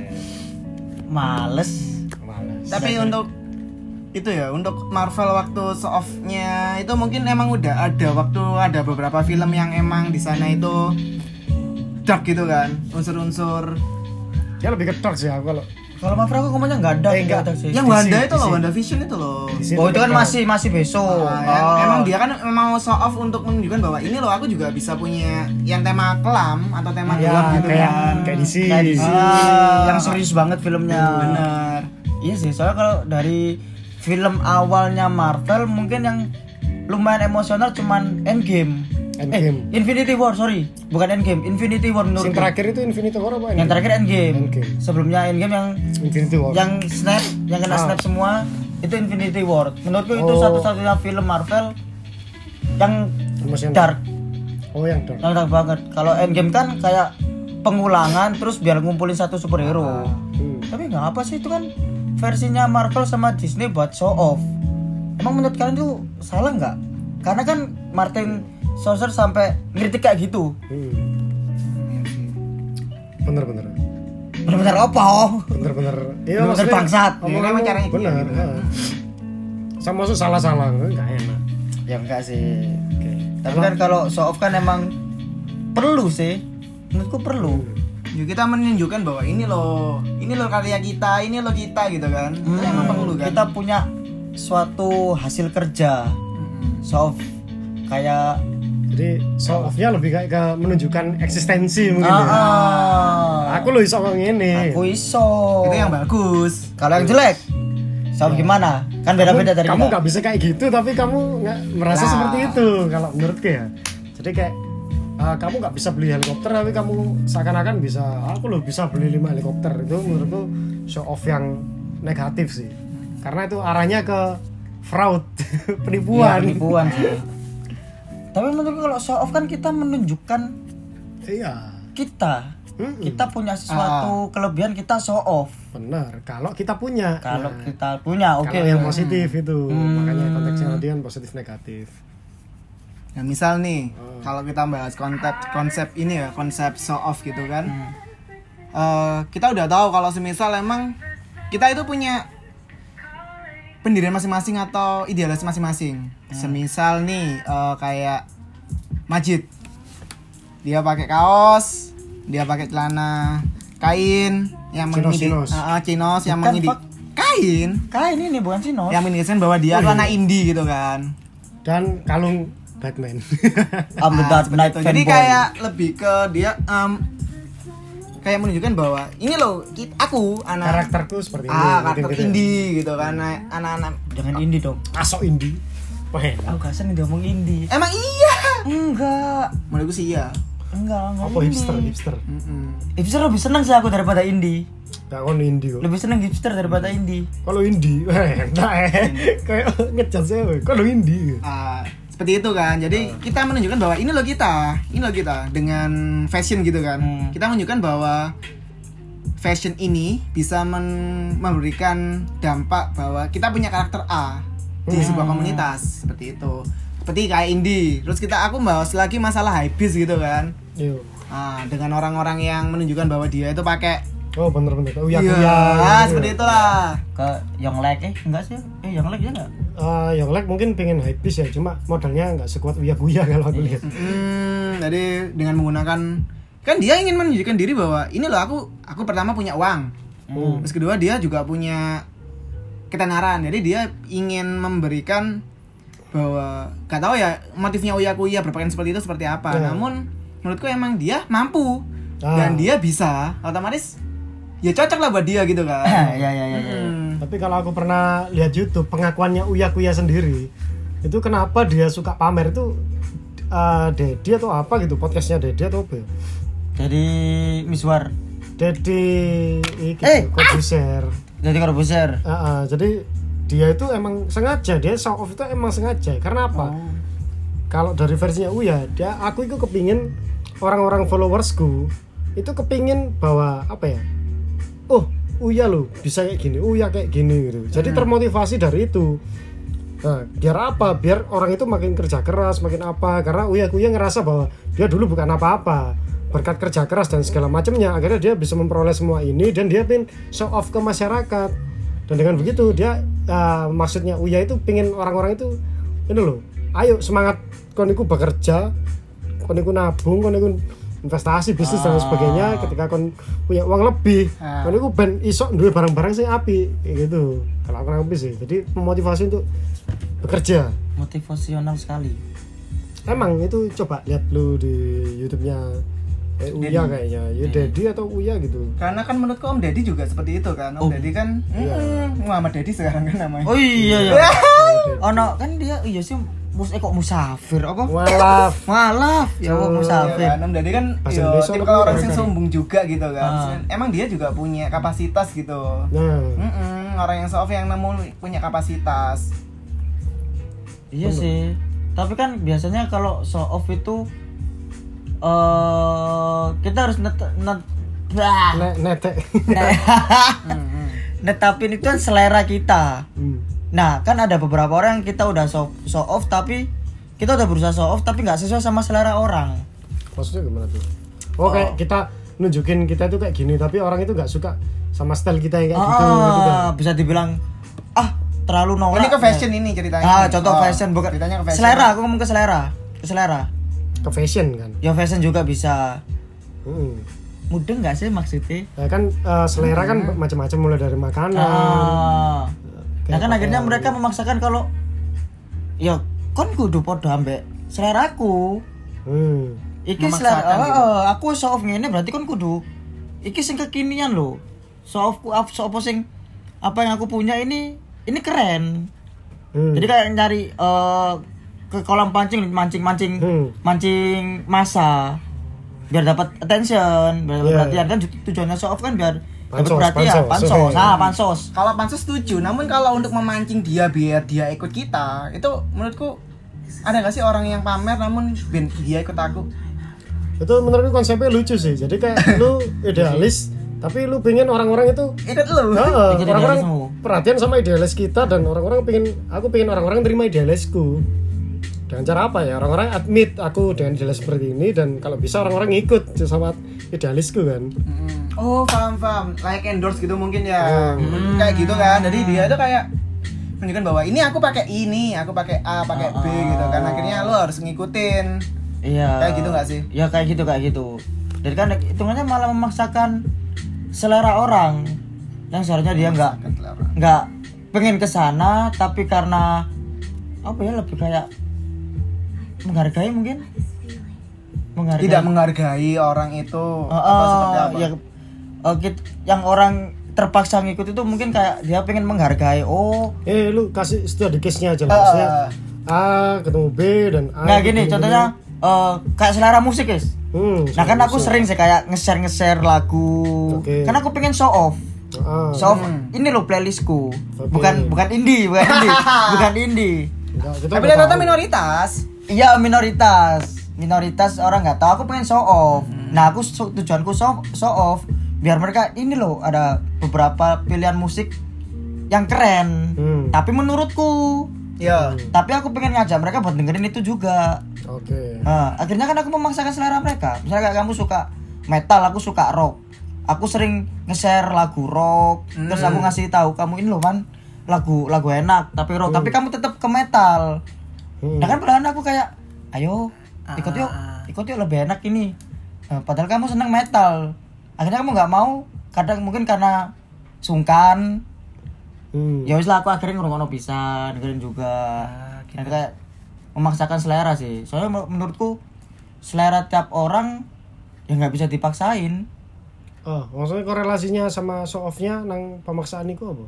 Speaker 2: males
Speaker 1: malas
Speaker 3: Tapi untuk itu ya untuk Marvel waktu soft-nya itu mungkin emang udah ada waktu ada beberapa film yang emang di sana itu dark gitu kan unsur-unsur
Speaker 1: dia lebih ke dark sih aku kalau
Speaker 2: kalau Mafra aku ngomongnya nggak ada
Speaker 1: Eh, nggak.
Speaker 2: nggak ada sih
Speaker 3: yang
Speaker 1: DC,
Speaker 3: Wanda itu loh
Speaker 1: DC.
Speaker 3: Wanda Vision itu loh
Speaker 1: di
Speaker 2: oh itu kan
Speaker 1: lebih dark.
Speaker 2: masih masih besok
Speaker 1: Ah,
Speaker 3: Nah,
Speaker 1: ya.
Speaker 3: em-
Speaker 2: Oh.
Speaker 3: emang dia kan mau show off untuk menunjukkan bahwa ini loh aku juga bisa punya yang tema kelam atau
Speaker 2: Iya,
Speaker 3: tema
Speaker 1: ya
Speaker 3: gelap gitu
Speaker 1: kayak
Speaker 3: kan
Speaker 1: kayak DC,
Speaker 2: Kayak di sini,
Speaker 3: Ah.
Speaker 2: yang serius banget filmnya
Speaker 3: bener
Speaker 2: Iya sih, soalnya kalau dari film awalnya Marvel mungkin yang lumayan emosional cuman Endgame.
Speaker 1: Endgame.
Speaker 2: Eh, Infinity War, sorry. Bukan Endgame, Infinity War menurut
Speaker 1: Yang terakhir itu Infinity War apa?
Speaker 2: Yang terakhir Endgame.
Speaker 1: Endgame.
Speaker 2: Sebelumnya Endgame yang
Speaker 1: Infinity War.
Speaker 2: yang snap, yang kena
Speaker 1: Ah.
Speaker 2: snap semua itu Infinity War. Menurutku itu
Speaker 1: Oh.
Speaker 2: satu-satunya film Marvel yang
Speaker 1: Emosional.
Speaker 2: dark,
Speaker 1: Oh yang dark.
Speaker 2: yang dark banget. Kalau Endgame kan kayak pengulangan terus biar ngumpulin satu superhero.
Speaker 1: Hmm.
Speaker 2: Tapi nggak apa sih itu kan versinya Marvel sama Disney buat show off. Emang menurut kalian itu salah nggak? Karena kan Martin Sorcer sampai ngeritik kayak gitu.
Speaker 1: Hmm. Bener bener.
Speaker 2: Bener-bener apa om?
Speaker 1: Bener bener. Iya
Speaker 2: Bener-bener
Speaker 1: maksudnya
Speaker 2: bangsat.
Speaker 1: Omongan
Speaker 3: Iya,
Speaker 1: lu
Speaker 3: caranya gini,
Speaker 1: bener.
Speaker 3: gitu.
Speaker 1: ha. Sama maksud salah salah enggak enak.
Speaker 2: Ya enggak sih. Tapi kan kalau show off kan emang perlu sih. Menurutku perlu.
Speaker 3: Yuk kita menunjukkan bahwa ini loh, ini loh karya kita, ini loh kita gitu kan. Itu emang perlu kan.
Speaker 2: Hmm. Kita punya suatu hasil kerja show off kayak
Speaker 1: Jadi show off-nya lebih kayak ke menunjukkan eksistensi mungkin
Speaker 2: ah,
Speaker 1: ya.
Speaker 2: ah.
Speaker 1: Aku lo iso ngomong ini.
Speaker 2: aku iso.
Speaker 3: Itu yang bagus.
Speaker 2: Kalau yang jelek, sama gimana? Kan beda-beda dari
Speaker 1: kamu
Speaker 2: kita.
Speaker 1: nggak bisa kayak gitu tapi kamu nggak merasa
Speaker 3: Nah.
Speaker 1: seperti itu kalau menurutku ya jadi kayak ah, kamu nggak bisa beli helikopter tapi kamu seakan-akan bisa aku loh bisa beli lima helikopter itu menurutku show off yang negatif sih karena itu arahnya ke fraud
Speaker 2: Iya,
Speaker 1: penipuan
Speaker 2: penipuan sih. Tapi menurutku kalau show off kan kita menunjukkan
Speaker 1: iya
Speaker 2: kita.
Speaker 1: Mm-mm.
Speaker 2: Kita punya sesuatu kelebihan kita show off.
Speaker 1: benar kalau kita punya
Speaker 2: Kalau
Speaker 1: Nah,
Speaker 2: kita punya, oke. ya. Hmm.
Speaker 1: kalau yang positif itu makanya konteksnya tadi kan positif negatif
Speaker 3: Nah, misal nih, kalau kita bahas konsep konsep ini ya, konsep show off gitu kan. Eh, kita udah tahu kalau semisal emang kita itu punya pendirian masing-masing atau idealis masing-masing. Semisal nih eh, kayak Majid. Dia pakai kaos, dia pakai celana kain yang
Speaker 1: Chinos,
Speaker 3: mengidi
Speaker 1: chinos.
Speaker 3: Ah, ah, chinos yang
Speaker 2: Bukan,
Speaker 3: mengidi
Speaker 2: Pak.
Speaker 3: kain
Speaker 2: Kayak ini nih bukan sih Nos.
Speaker 3: yang mengindikasikan bahwa dia celana indie gitu kan.
Speaker 1: dan kalung Batman
Speaker 2: I'm the
Speaker 3: Ah,
Speaker 2: Dark
Speaker 3: seperti
Speaker 2: Knight
Speaker 3: itu. Jadi
Speaker 2: fanboy.
Speaker 3: kayak lebih ke dia em, kayak menunjukkan bahwa ini loh ki- aku anak
Speaker 1: karakterku seperti ini
Speaker 3: ah
Speaker 1: mungkin
Speaker 3: karakter
Speaker 1: gitu ya.
Speaker 3: indie gitu kan anak- anak-anak
Speaker 2: jangan indie dong.
Speaker 1: Asok indie Wah,
Speaker 2: Aku gak seneng ngomong indie.
Speaker 3: emang iya
Speaker 2: Enggak,
Speaker 3: menurutku sih iya
Speaker 2: enggak enggak.
Speaker 1: apa hipster hipster
Speaker 3: Mm-mm.
Speaker 2: Hipster lebih seneng sih aku daripada indie.
Speaker 1: gak kon indie kok
Speaker 2: Lebih seneng hipster daripada indie.
Speaker 1: kalau indie wah, enak eh
Speaker 3: Hmm.
Speaker 1: kayak ngecat saya weh. kalau indie
Speaker 3: Ah, seperti itu kan jadi kita menunjukkan bahwa ini loh kita ini loh kita dengan fashion gitu kan
Speaker 2: Hmm.
Speaker 3: kita menunjukkan bahwa fashion ini bisa men- memberikan dampak bahwa kita punya karakter A di sebuah komunitas seperti itu seperti kayak indie terus kita aku bahas lagi masalah hypebeast gitu kan
Speaker 1: yo
Speaker 3: Ah, dengan orang-orang yang menunjukkan bahwa dia itu pakai
Speaker 1: oh bener-bener oh ya
Speaker 3: Iya, ah, seperti itulah.
Speaker 2: ke Yonglek eh enggak sih eh Yonglek ya enggak
Speaker 1: Ah, yang like mungkin pengen hype bis ya cuma modalnya nggak sekuat uya buya kalau
Speaker 3: Iya.
Speaker 1: aku lihat
Speaker 3: Hmm, jadi dengan menggunakan kan dia ingin menunjukkan diri bahwa ini loh aku aku pertama punya uang. Terus kedua dia juga punya ketenaran. Jadi dia ingin memberikan bahwa gak tahu ya motifnya Uya Kuya berpakaian seperti itu seperti apa.
Speaker 1: Ya.
Speaker 3: Namun menurutku emang dia mampu
Speaker 1: Ah.
Speaker 3: dan dia bisa otomatis ya cocok lah buat dia gitu kan.
Speaker 2: ya ya ya ya.
Speaker 3: Hmm.
Speaker 1: tapi kalau aku pernah lihat YouTube pengakuannya uya kuya sendiri itu kenapa dia suka pamer itu eh Dedi atau apa gitu podcastnya Dedi atau apa ya?
Speaker 2: jadi Miswar
Speaker 1: Dedi iki
Speaker 2: Eh,
Speaker 1: kok share
Speaker 2: jadi Corbuzier
Speaker 1: Ah, ah, jadi dia itu emang sengaja dia show off itu emang sengaja karena apa? Kalau dari versinya Uya, dia aku itu kepingin orang-orang followersku itu kepingin bahwa apa ya? Oh, Uya lo bisa kayak gini, Uya kayak gini gitu. Jadi termotivasi dari itu. Nah, biar apa? Biar orang itu makin kerja keras, makin apa? Karena Uya Uya ngerasa bahwa dia dulu bukan apa-apa berkat kerja keras dan segala macamnya akhirnya dia bisa memperoleh semua ini dan dia pin show off ke masyarakat dan dengan begitu dia eh, maksudnya Uya itu pingin orang-orang itu ini loh ayo semangat koniku bekerja koniku nabung koniku investasi bisnis dan lain sebagainya ketika kon punya uang lebih
Speaker 3: Ah.
Speaker 1: kon iku ben isok duwe barang-barang sing api kayak gitu kalau aku nangkep sih jadi memotivasi untuk bekerja
Speaker 2: motivasional sekali
Speaker 1: emang itu coba lihat lu di YouTube-nya eh, Uya kayaknya ya Dedi atau Uya gitu
Speaker 3: Karena kan menurutku Om Deddy juga seperti itu kan. Om
Speaker 2: Oh.
Speaker 3: Deddy kan mm, Muhammad Deddy sekarang kan namanya.
Speaker 2: oh iya iya ono kan dia iya sih mus eh kok musafir
Speaker 1: Oh.
Speaker 2: apa
Speaker 1: walaf
Speaker 2: malah ya kok musafir
Speaker 3: Iya kan, Om Dadi kan
Speaker 1: Bahasa
Speaker 3: yo,
Speaker 1: Indonesia
Speaker 3: tipikal
Speaker 1: lebih
Speaker 3: orang
Speaker 1: baik
Speaker 3: yang
Speaker 1: kan?
Speaker 3: sombong juga gitu kan.
Speaker 2: Ah.
Speaker 3: Emang dia juga punya kapasitas gitu.
Speaker 1: nah
Speaker 3: Mm-mm, orang yang soft yang nemu punya kapasitas.
Speaker 2: Iya sih. Tapi kan biasanya kalau show off itu eh kita harus net net bah.
Speaker 1: ne- netek
Speaker 2: netapin itu kan selera kita.
Speaker 1: Hmm.
Speaker 2: Nah, kan ada beberapa orang yang kita udah show, show off tapi kita udah berusaha show off tapi nggak sesuai sama selera orang.
Speaker 1: maksudnya gimana tuh oh, kayak kita nunjukin kita itu kayak gini tapi orang itu nggak suka sama style kita
Speaker 3: Iya,
Speaker 1: yang kayak
Speaker 2: Ah,
Speaker 1: gitu gitu kan
Speaker 2: bisa dibilang ah terlalu
Speaker 3: Oh,
Speaker 2: nolak.
Speaker 3: ini ke fashion ini ceritanya.
Speaker 2: Iya. Ah, contoh
Speaker 3: Oh,
Speaker 2: fashion bukan
Speaker 3: Ceritanya ke fashion.
Speaker 2: selera, aku ngomong ke selera. Ke selera.
Speaker 1: ke fashion kan
Speaker 2: Ya fashion juga bisa.
Speaker 1: Hmm.
Speaker 2: Mudeng nggak sih maksudnya?
Speaker 1: Ya kan eh, selera kan macam-macam mulai dari makanan
Speaker 2: Ah. Nah
Speaker 1: Kayak
Speaker 2: kan
Speaker 1: pakai
Speaker 2: akhirnya
Speaker 1: yang-
Speaker 2: mereka memaksakan kalau ya kon kudu podo ambek seleraku.
Speaker 1: Hmm.
Speaker 2: Iki selera
Speaker 3: Memaksakan
Speaker 2: oh,
Speaker 3: gitu.
Speaker 2: oh, aku soft ngene berarti kon kudu iki sing kekinian lho. Softku up sopo sing apa yang aku punya ini ini keren.
Speaker 1: Hmm.
Speaker 2: Jadi kayak nyari eh, ke kolam pancing mancing-mancing
Speaker 1: Hmm.
Speaker 2: mancing masa biar dapat attention, biar dapat
Speaker 1: Iya,
Speaker 2: perhatian kan ju- tujuannya soft kan biar dapat
Speaker 1: Pansos,
Speaker 2: perhatian,
Speaker 1: pansos.
Speaker 2: pansos, ah
Speaker 1: Hmm.
Speaker 2: pansos.
Speaker 3: Kalau pansus setuju, namun kalau untuk memancing dia biar dia ikut kita, itu menurutku ada gak sih orang yang pamer namun ben, dia ikut aku?
Speaker 1: itu menurutku konsepnya lucu sih jadi kayak lu idealis tapi lu pengen orang-orang itu
Speaker 3: Ikut lu.
Speaker 1: Heeh,
Speaker 2: Jadi
Speaker 1: orang-orang
Speaker 2: idealismu.
Speaker 1: perhatian sama idealis kita dan orang-orang pengen aku pengen orang-orang terima idealisku dengan cara apa ya orang-orang admit aku dengan idealis seperti ini dan kalau bisa orang-orang ngikut sama idealisku kan
Speaker 3: Mm. Oh paham paham, like endorse gitu mungkin ya, kayak gitu kan. Jadi dia itu kayak menunjukkan bahwa ini aku pakai ini, aku pakai A, pakai
Speaker 2: Ah,
Speaker 3: B gitu kan. Akhirnya lo harus ngikutin.
Speaker 2: Iya.
Speaker 3: Kayak gitu nggak sih?
Speaker 2: Ya kayak gitu kayak gitu. Jadi kan hitungannya malah memaksakan selera orang yang seharusnya dia nggak nggak pengen ke sana tapi karena apa ya lebih kayak menghargai mungkin menghargai
Speaker 3: Tidak menghargai orang itu
Speaker 2: Oh,
Speaker 3: apa
Speaker 2: oh,
Speaker 3: seperti apa?
Speaker 2: ya, oh, gitu. yang orang terpaksa ngikut itu mungkin kayak dia pengen menghargai oh
Speaker 1: eh lu kasih setiap di case-nya aja lah maksudnya A ketemu B dan A
Speaker 2: nggak gini contohnya eh, kayak selera musik guys
Speaker 1: hmm,
Speaker 2: Nah kan aku sering sih kayak nge-share nge-share lagu.
Speaker 1: Oke.
Speaker 2: Karena aku pengen show off.
Speaker 1: ah,
Speaker 2: Show off ini loh playlistku.
Speaker 1: Oke.
Speaker 2: Bukan bukan indie, bukan indie, bukan indie.
Speaker 1: enggak, kita
Speaker 3: Tapi
Speaker 1: nggak
Speaker 3: ternyata
Speaker 1: tahu.
Speaker 3: minoritas.
Speaker 2: Iya minoritas. Minoritas orang nggak tahu aku pengen show off.
Speaker 1: Hmm.
Speaker 2: Nah, aku su- tujuanku show show off biar mereka ini loh ada beberapa pilihan musik yang keren.
Speaker 1: Hmm.
Speaker 2: Tapi menurutku
Speaker 3: Ya.
Speaker 2: tapi aku pengen ngajak mereka buat dengerin itu juga.
Speaker 1: oke
Speaker 2: Ah, Nah, akhirnya kan aku memaksakan selera mereka. Misalnya kayak kamu suka metal, aku suka rock. aku sering nge-share lagu rock terus aku ngasih tahu kamu ini loh kan lagu lagu enak tapi rock tapi kamu tetap ke metal
Speaker 1: Hmm.
Speaker 2: nah kan padahal aku kayak ayo ikut yuk ikut yuk lebih enak ini Nah, padahal kamu seneng metal akhirnya kamu nggak mau kadang mungkin karena sungkan
Speaker 1: Hmm.
Speaker 2: ya wis lah aku akhirnya ngerungono bisa dengerin juga
Speaker 1: Ah,
Speaker 2: Dan kayak memaksakan selera sih soalnya menur- menurutku selera tiap orang ya nggak bisa dipaksain
Speaker 1: Oh, maksudnya korelasinya sama show off-nya nang pemaksaan iku apa?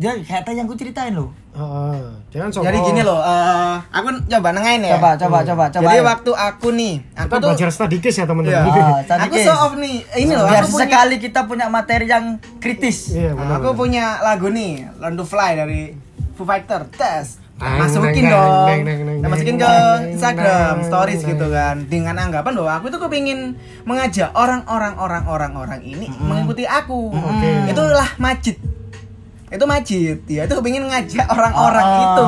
Speaker 2: dia kayak tadi yang aku ceritain loh
Speaker 1: Heeh. jangan show
Speaker 3: Jadi
Speaker 1: off.
Speaker 3: gini loh, eh, aku coba nengahin
Speaker 1: Iya.
Speaker 3: ya.
Speaker 2: coba coba coba coba
Speaker 3: Jadi
Speaker 2: ayo.
Speaker 3: waktu aku nih, aku
Speaker 1: Kita
Speaker 3: tuh
Speaker 1: belajar stadikis ya
Speaker 3: Iya.
Speaker 1: teman-teman.
Speaker 2: Ah, tadi
Speaker 3: aku
Speaker 2: Kes.
Speaker 3: show off nih. Eh, Ini loh,
Speaker 2: biar
Speaker 3: aku punya
Speaker 2: sekali kita punya materi yang kritis
Speaker 1: Iya, benar.
Speaker 3: aku punya lagu nih, Learn to Fly dari Foo Fighter. Tes.
Speaker 1: Neng,
Speaker 3: Masukin
Speaker 1: neng,
Speaker 3: dong.
Speaker 1: neng, neng, neng,
Speaker 3: Nah, masukin
Speaker 1: neng,
Speaker 3: ke
Speaker 1: neng,
Speaker 3: Instagram
Speaker 1: neng,
Speaker 3: stories
Speaker 1: neng.
Speaker 3: gitu kan. Dengan anggapan bahwa aku tuh kepingin mengajak orang-orang orang-orang orang ini mengikuti aku.
Speaker 1: Oke.
Speaker 3: Itulah masjid. Itu masjid. Ya, itu kepingin ngajak orang-orang
Speaker 2: Oh.
Speaker 3: itu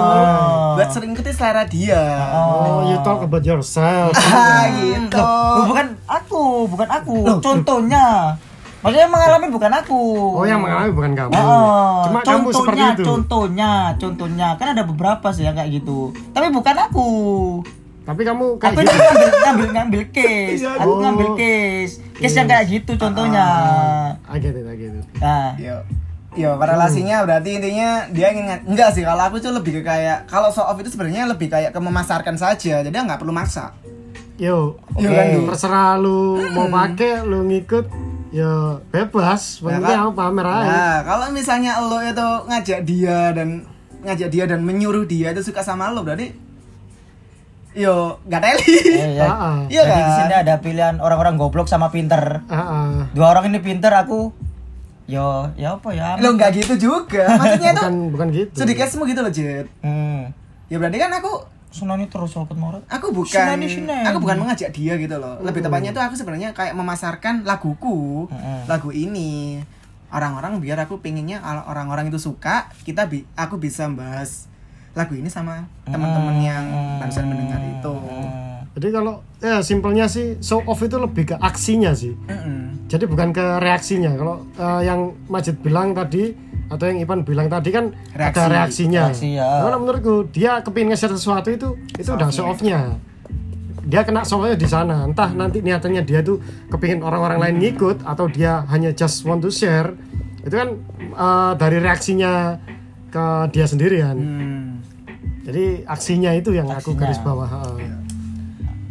Speaker 3: buat sering ikuti selera dia.
Speaker 1: Oh, you talk about yourself.
Speaker 3: Ah, gitu.
Speaker 2: Loh, bukan aku bukan aku contohnya maksudnya yang mengalami bukan aku
Speaker 1: Oh, yang mengalami bukan kamu.
Speaker 2: Oh,
Speaker 1: Cuma kamu seperti
Speaker 2: contohnya,
Speaker 1: itu.
Speaker 2: contohnya, contohnya, kan ada beberapa sih yang kayak gitu. Tapi bukan aku.
Speaker 1: Tapi kamu kayak
Speaker 2: Aku ini
Speaker 1: gitu.
Speaker 2: ngambil ngambil ngambil case.
Speaker 3: Iya,
Speaker 2: Aku
Speaker 1: Oh.
Speaker 2: ngambil case. Case yang kayak
Speaker 3: Ah.
Speaker 2: gitu contohnya.
Speaker 1: I get it, I get it.
Speaker 2: Nah,
Speaker 3: Yo. Yo, relasinya berarti intinya dia ingin ngat- enggak sih kalau aku tuh lebih ke kayak kalau show off itu sebenarnya lebih kayak ke memasarkan saja. Jadi nggak perlu maksa.
Speaker 1: Yo,
Speaker 3: Yo,
Speaker 1: oke.
Speaker 3: kan, Du?
Speaker 1: terserah lu mau pakai, lu ngikut, yo bebas. Pentingnya
Speaker 3: kan?
Speaker 1: kamu pamer aja.
Speaker 3: Nah, kalau misalnya lo itu ngajak dia dan ngajak dia dan menyuruh dia itu suka sama lo berarti yo nggak teli.
Speaker 2: eh, ya.
Speaker 1: Ah,
Speaker 3: Iya
Speaker 2: Jadi di
Speaker 3: kan?
Speaker 2: sini ada pilihan orang-orang goblok sama pinter.
Speaker 1: ah, ah.
Speaker 2: Dua orang ini pinter, aku yo, ya apa ya?
Speaker 3: Lo nggak gitu juga. Maksudnya itu
Speaker 1: Bukan bukan gitu.
Speaker 3: sedikitmu gitu loh, Jit.
Speaker 2: Hmm.
Speaker 3: Ya berarti kan aku
Speaker 2: Sunani terus sobat morat.
Speaker 3: aku bukan
Speaker 2: Sinani, sinani.
Speaker 3: aku bukan mengajak dia gitu loh lebih tepatnya itu aku sebenarnya kayak memasarkan laguku
Speaker 2: Mm-mm.
Speaker 3: lagu ini orang-orang biar aku pinginnya kalau orang-orang itu suka kita bi aku bisa bahas lagu ini sama teman-teman yang barusan mendengar itu
Speaker 2: Hmm.
Speaker 1: Jadi kalau ya simpelnya sih show off itu lebih ke aksinya sih.
Speaker 3: Mm-mm.
Speaker 1: Jadi bukan ke reaksinya. Kalau eh, yang Majid bilang tadi atau yang Ipan bilang tadi kan
Speaker 3: Reaksi.
Speaker 1: ada reaksinya.
Speaker 2: Reaksi, ya.
Speaker 1: Nah, Kalau menurutku dia kepingin nge-share sesuatu itu itu udah show off-nya. Dia kena show off-nya di sana. Entah nanti niatannya dia tuh kepingin orang-orang lain ngikut atau dia hanya just want to share. Itu kan eh, dari reaksinya ke dia sendirian.
Speaker 3: Hmm.
Speaker 1: Jadi aksinya itu yang aku
Speaker 2: Aksinya.
Speaker 1: garis bawah. heeh.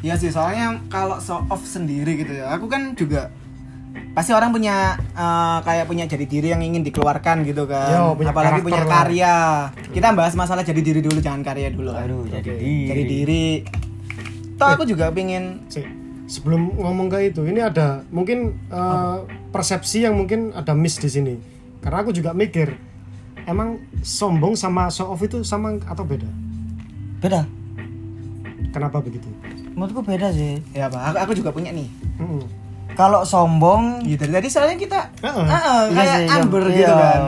Speaker 3: Iya sih, soalnya kalau show off sendiri gitu ya, aku kan juga pasti orang punya eh, kayak punya jadi diri yang ingin dikeluarkan gitu kan.
Speaker 2: Iya,
Speaker 1: Yo, punya
Speaker 3: Apalagi
Speaker 1: karakter
Speaker 3: punya
Speaker 1: lah.
Speaker 3: karya. Kita bahas masalah jadi diri dulu, jangan karya dulu. kan.
Speaker 2: Aduh,
Speaker 1: Oke.
Speaker 2: jadi diri.
Speaker 3: Jadi diri. Toh aku juga pingin
Speaker 1: Sik, sebelum ngomong ke itu, ini ada mungkin eh, persepsi yang mungkin ada miss di sini. Karena aku juga mikir, emang sombong sama show off itu sama atau beda?
Speaker 2: Beda.
Speaker 1: Kenapa begitu?
Speaker 2: Menurutku beda sih.
Speaker 3: ya apa? Aku, aku juga punya nih.
Speaker 1: Mm-mm.
Speaker 2: Kalau sombong
Speaker 3: Gitu. Tadi soalnya kita
Speaker 1: Heeh.
Speaker 3: Heeh,
Speaker 2: Iya
Speaker 3: kayak
Speaker 2: sih, iya.
Speaker 3: amber
Speaker 2: Iya.
Speaker 3: gitu kan.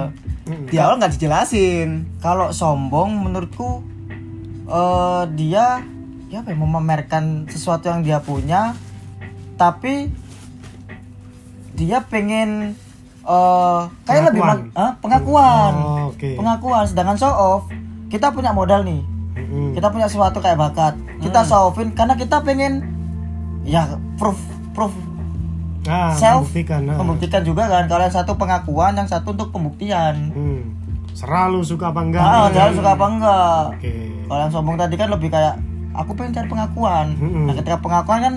Speaker 1: Mm-mm.
Speaker 3: Di awal nggak dijelasin.
Speaker 2: kalau sombong menurutku eh dia ya apa ya, memamerkan sesuatu yang dia punya tapi dia pengen eh kayak lebih
Speaker 1: Pengakuan.
Speaker 2: men- Hah? pengakuan
Speaker 1: Oh, oke.
Speaker 2: pengakuan sedangkan show off kita punya modal nih
Speaker 1: Mm-mm. Mm.
Speaker 2: kita punya sesuatu kayak bakat kita show offin karena kita pengen ya proof proof
Speaker 1: Ah,
Speaker 2: self
Speaker 1: membuktikan. ah.
Speaker 2: membuktikan juga kan kalau yang satu pengakuan yang satu untuk pembuktian
Speaker 1: Mm. Serah lu suka apa enggak?
Speaker 2: ah
Speaker 1: gitu.
Speaker 2: dia suka apa enggak
Speaker 1: Oke.
Speaker 2: kalau yang sombong tadi kan lebih kayak aku pengen cari pengakuan
Speaker 1: Mm-mm.
Speaker 2: nah ketika pengakuan kan